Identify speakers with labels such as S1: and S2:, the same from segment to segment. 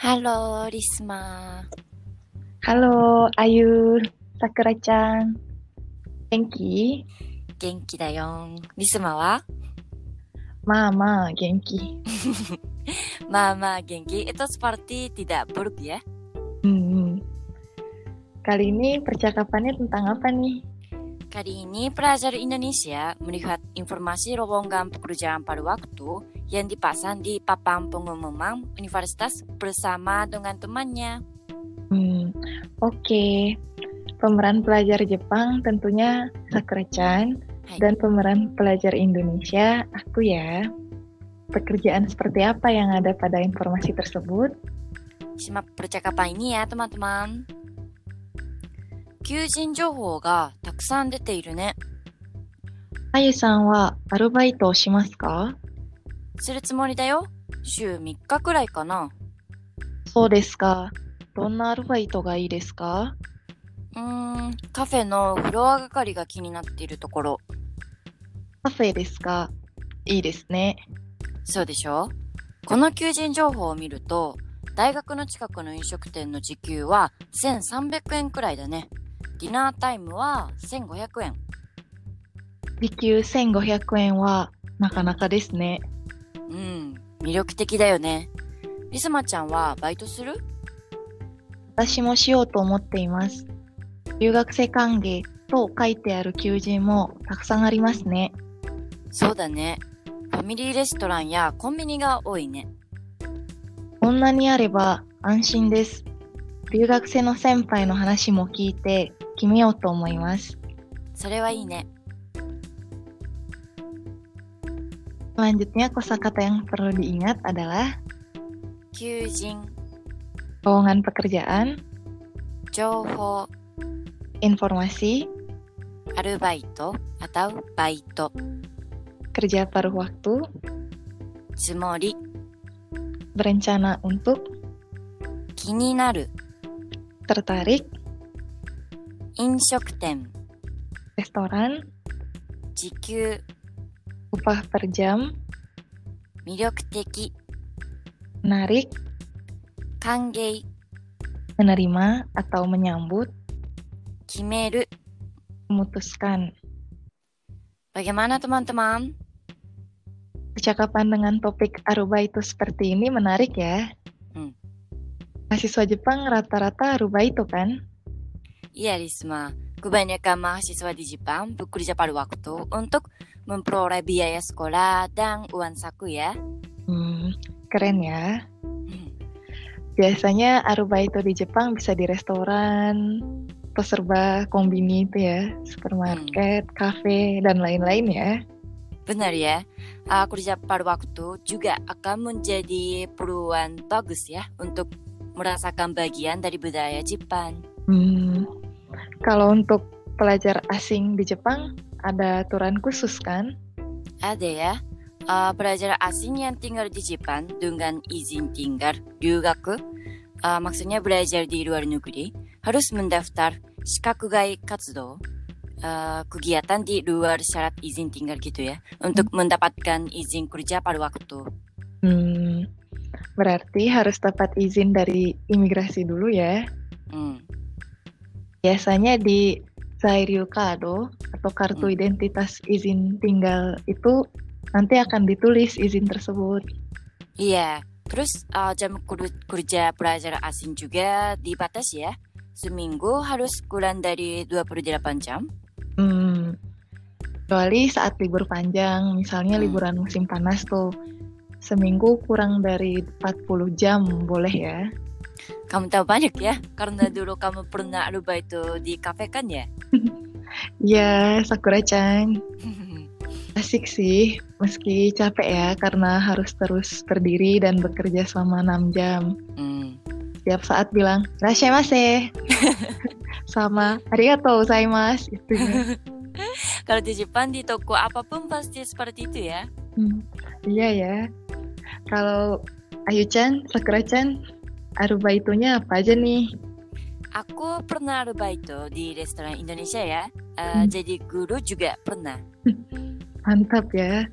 S1: Halo, Risma.
S2: Halo, Ayu, Sakura ちゃん。元気
S1: 元気だよ。リスマは
S2: まあまあ、元気。
S1: Mama Genki itu seperti tidak buruk ya.
S2: Hmm. Kali ini percakapannya tentang apa nih?
S1: Kali ini pelajar Indonesia melihat informasi lowongan pekerjaan pada waktu yang dipasang di papan pengumuman universitas bersama dengan temannya.
S2: Hmm. Oke. Pemeran pelajar Jepang tentunya Sakura-chan
S1: Hai.
S2: dan pemeran pelajar Indonesia aku ya. Pekerjaan seperti apa yang ada pada informasi tersebut?
S1: simak percakapan ini ya, teman-teman. 求人情報がたくさん出ているね。
S2: Ayu san wa arubaito shimasu ka?
S1: するつもりだよ。週3日くらいかな。
S2: そうですか。どんなアルバイトがいいですか
S1: うーん、カフェのフロア係が気になっているところ。
S2: カフェですかいいですね。
S1: そうでしょこの求人情報を見ると、大学の近くの飲食店の時給は1300円くらいだね。ディナータイムは1500円。
S2: 時給1500円はなかなかですね。
S1: うん、魅力的だよね。リスマちゃんはバイトする
S2: 私もしようと思っています。留学生歓迎と書いてある求人もたくさんありますね。
S1: そうだね。ファミリーレストランやコンビニが多いね。
S2: こんなにあれば安心です。留学生の先輩の話も聞いて決めようと思います。
S1: それはいいね。
S2: Selanjutnya kosakata yang perlu diingat adalah
S1: 求人、
S2: lowongan pekerjaan,
S1: 情報、
S2: informasi,
S1: アルバイト、あたうバイト、
S2: kerja paruh waktu,
S1: つもり、
S2: berencana untuk,
S1: 気になる、
S2: tertarik,
S1: 飲食店、
S2: restoran,
S1: 時給、
S2: upah per jam,
S1: 魅力的、
S2: menarik,
S1: 歓迎、
S2: menerima atau menyambut,
S1: 決める。
S2: memutuskan.
S1: Bagaimana teman-teman?
S2: Percakapan dengan topik aruba itu seperti ini menarik ya.
S1: Hmm.
S2: Mahasiswa Jepang rata-rata aruba itu kan?
S1: Iya Risma, kebanyakan mahasiswa di Jepang bekerja pada waktu untuk memperoleh biaya sekolah dan uang saku ya.
S2: Hmm, keren ya.
S1: Hmm,
S2: Biasanya aruba itu di Jepang bisa di restoran, atau serba kombini itu ya, supermarket, kafe, dan lain-lain ya.
S1: Benar ya, Ah, kerja pada waktu juga akan menjadi peluang bagus ya untuk merasakan bagian dari budaya Jepang.
S2: Hmm, kalau untuk pelajar asing di Jepang, ada aturan khusus kan?
S1: Ada ya, Ah, pelajar asing yang tinggal di Jepang dengan izin tinggal ryugaku, ah, maksudnya belajar di luar negeri, harus mendaftar shikakugai katsudo, ah, kegiatan di luar syarat izin tinggal gitu ya, untuk mendapatkan izin kerja pada waktu.
S2: Hmm, berarti harus dapat izin dari imigrasi dulu ya.
S1: Hmm,
S2: Biasanya di Zairyu Kado atau kartu
S1: Hmm.
S2: identitas izin tinggal itu nanti akan ditulis izin tersebut.
S1: Iya, terus ah, jam ker- kerja pelajar asing juga dibatasi ya, seminggu harus kurang dari 28 jam.
S2: Hmm, kecuali saat libur panjang, misalnya
S1: Hmm.
S2: liburan musim panas tuh. Seminggu kurang dari 40 jam boleh ya.
S1: Kamu tahu banyak ya, karena dulu kamu pernah aruba itu di kafe kan ya?
S2: Ya, Sakura-chan.
S1: Hmm.
S2: Asik sih, meski capek ya karena harus terus berdiri dan bekerja selama 6 jam.
S1: hmm.
S2: Setiap saat bilang, "Rashaimase." Sama, "Arigatou gozaimasu." Gitu ya. Itu.
S1: Kalau di Jepang di toko apapun pasti seperti itu ya.
S2: Hmm, iya ya. Kalau Ayu-chan, Sakura-chan, arubaitunya apa aja nih?
S1: Aku pernah aruba itu di restoran Indonesia ya. Eh,
S2: Hmm.
S1: Jadi guru juga pernah.
S2: Mantap ya.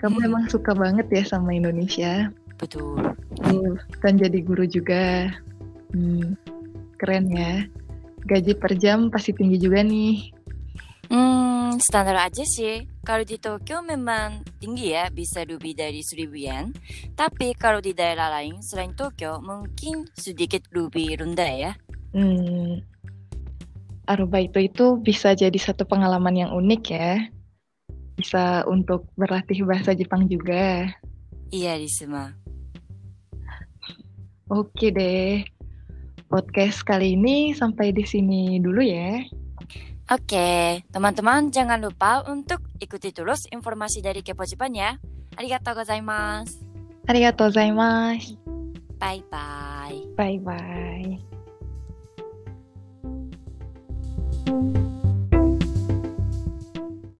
S2: Kamu
S1: Hmm.
S2: emang suka banget ya sama Indonesia.
S1: Betul.
S2: Hmm, kan jadi guru juga. Hmm, keren ya. Gaji per jam pasti tinggi juga nih.
S1: Hmm, standar aja sih. Kalau di Tokyo memang tinggi ya, bisa lebih dari 1000 yen. Tapi kalau di daerah lain selain Tokyo, mungkin sedikit lebih rendah ya.
S2: Hmm, Arubaito itu bisa jadi satu pengalaman yang unik ya. Bisa untuk berlatih bahasa Jepang juga.
S1: Iya, Risma.
S2: Oke deh. Podcast kali ini sampai di sini dulu ya.
S1: Oke, teman-teman jangan lupa untuk ikuti terus informasi dari Kepo Jepang ya. Arigatou gozaimasu.
S2: Arigatou gozaimasu.
S1: Bye-bye.
S2: Bye bye.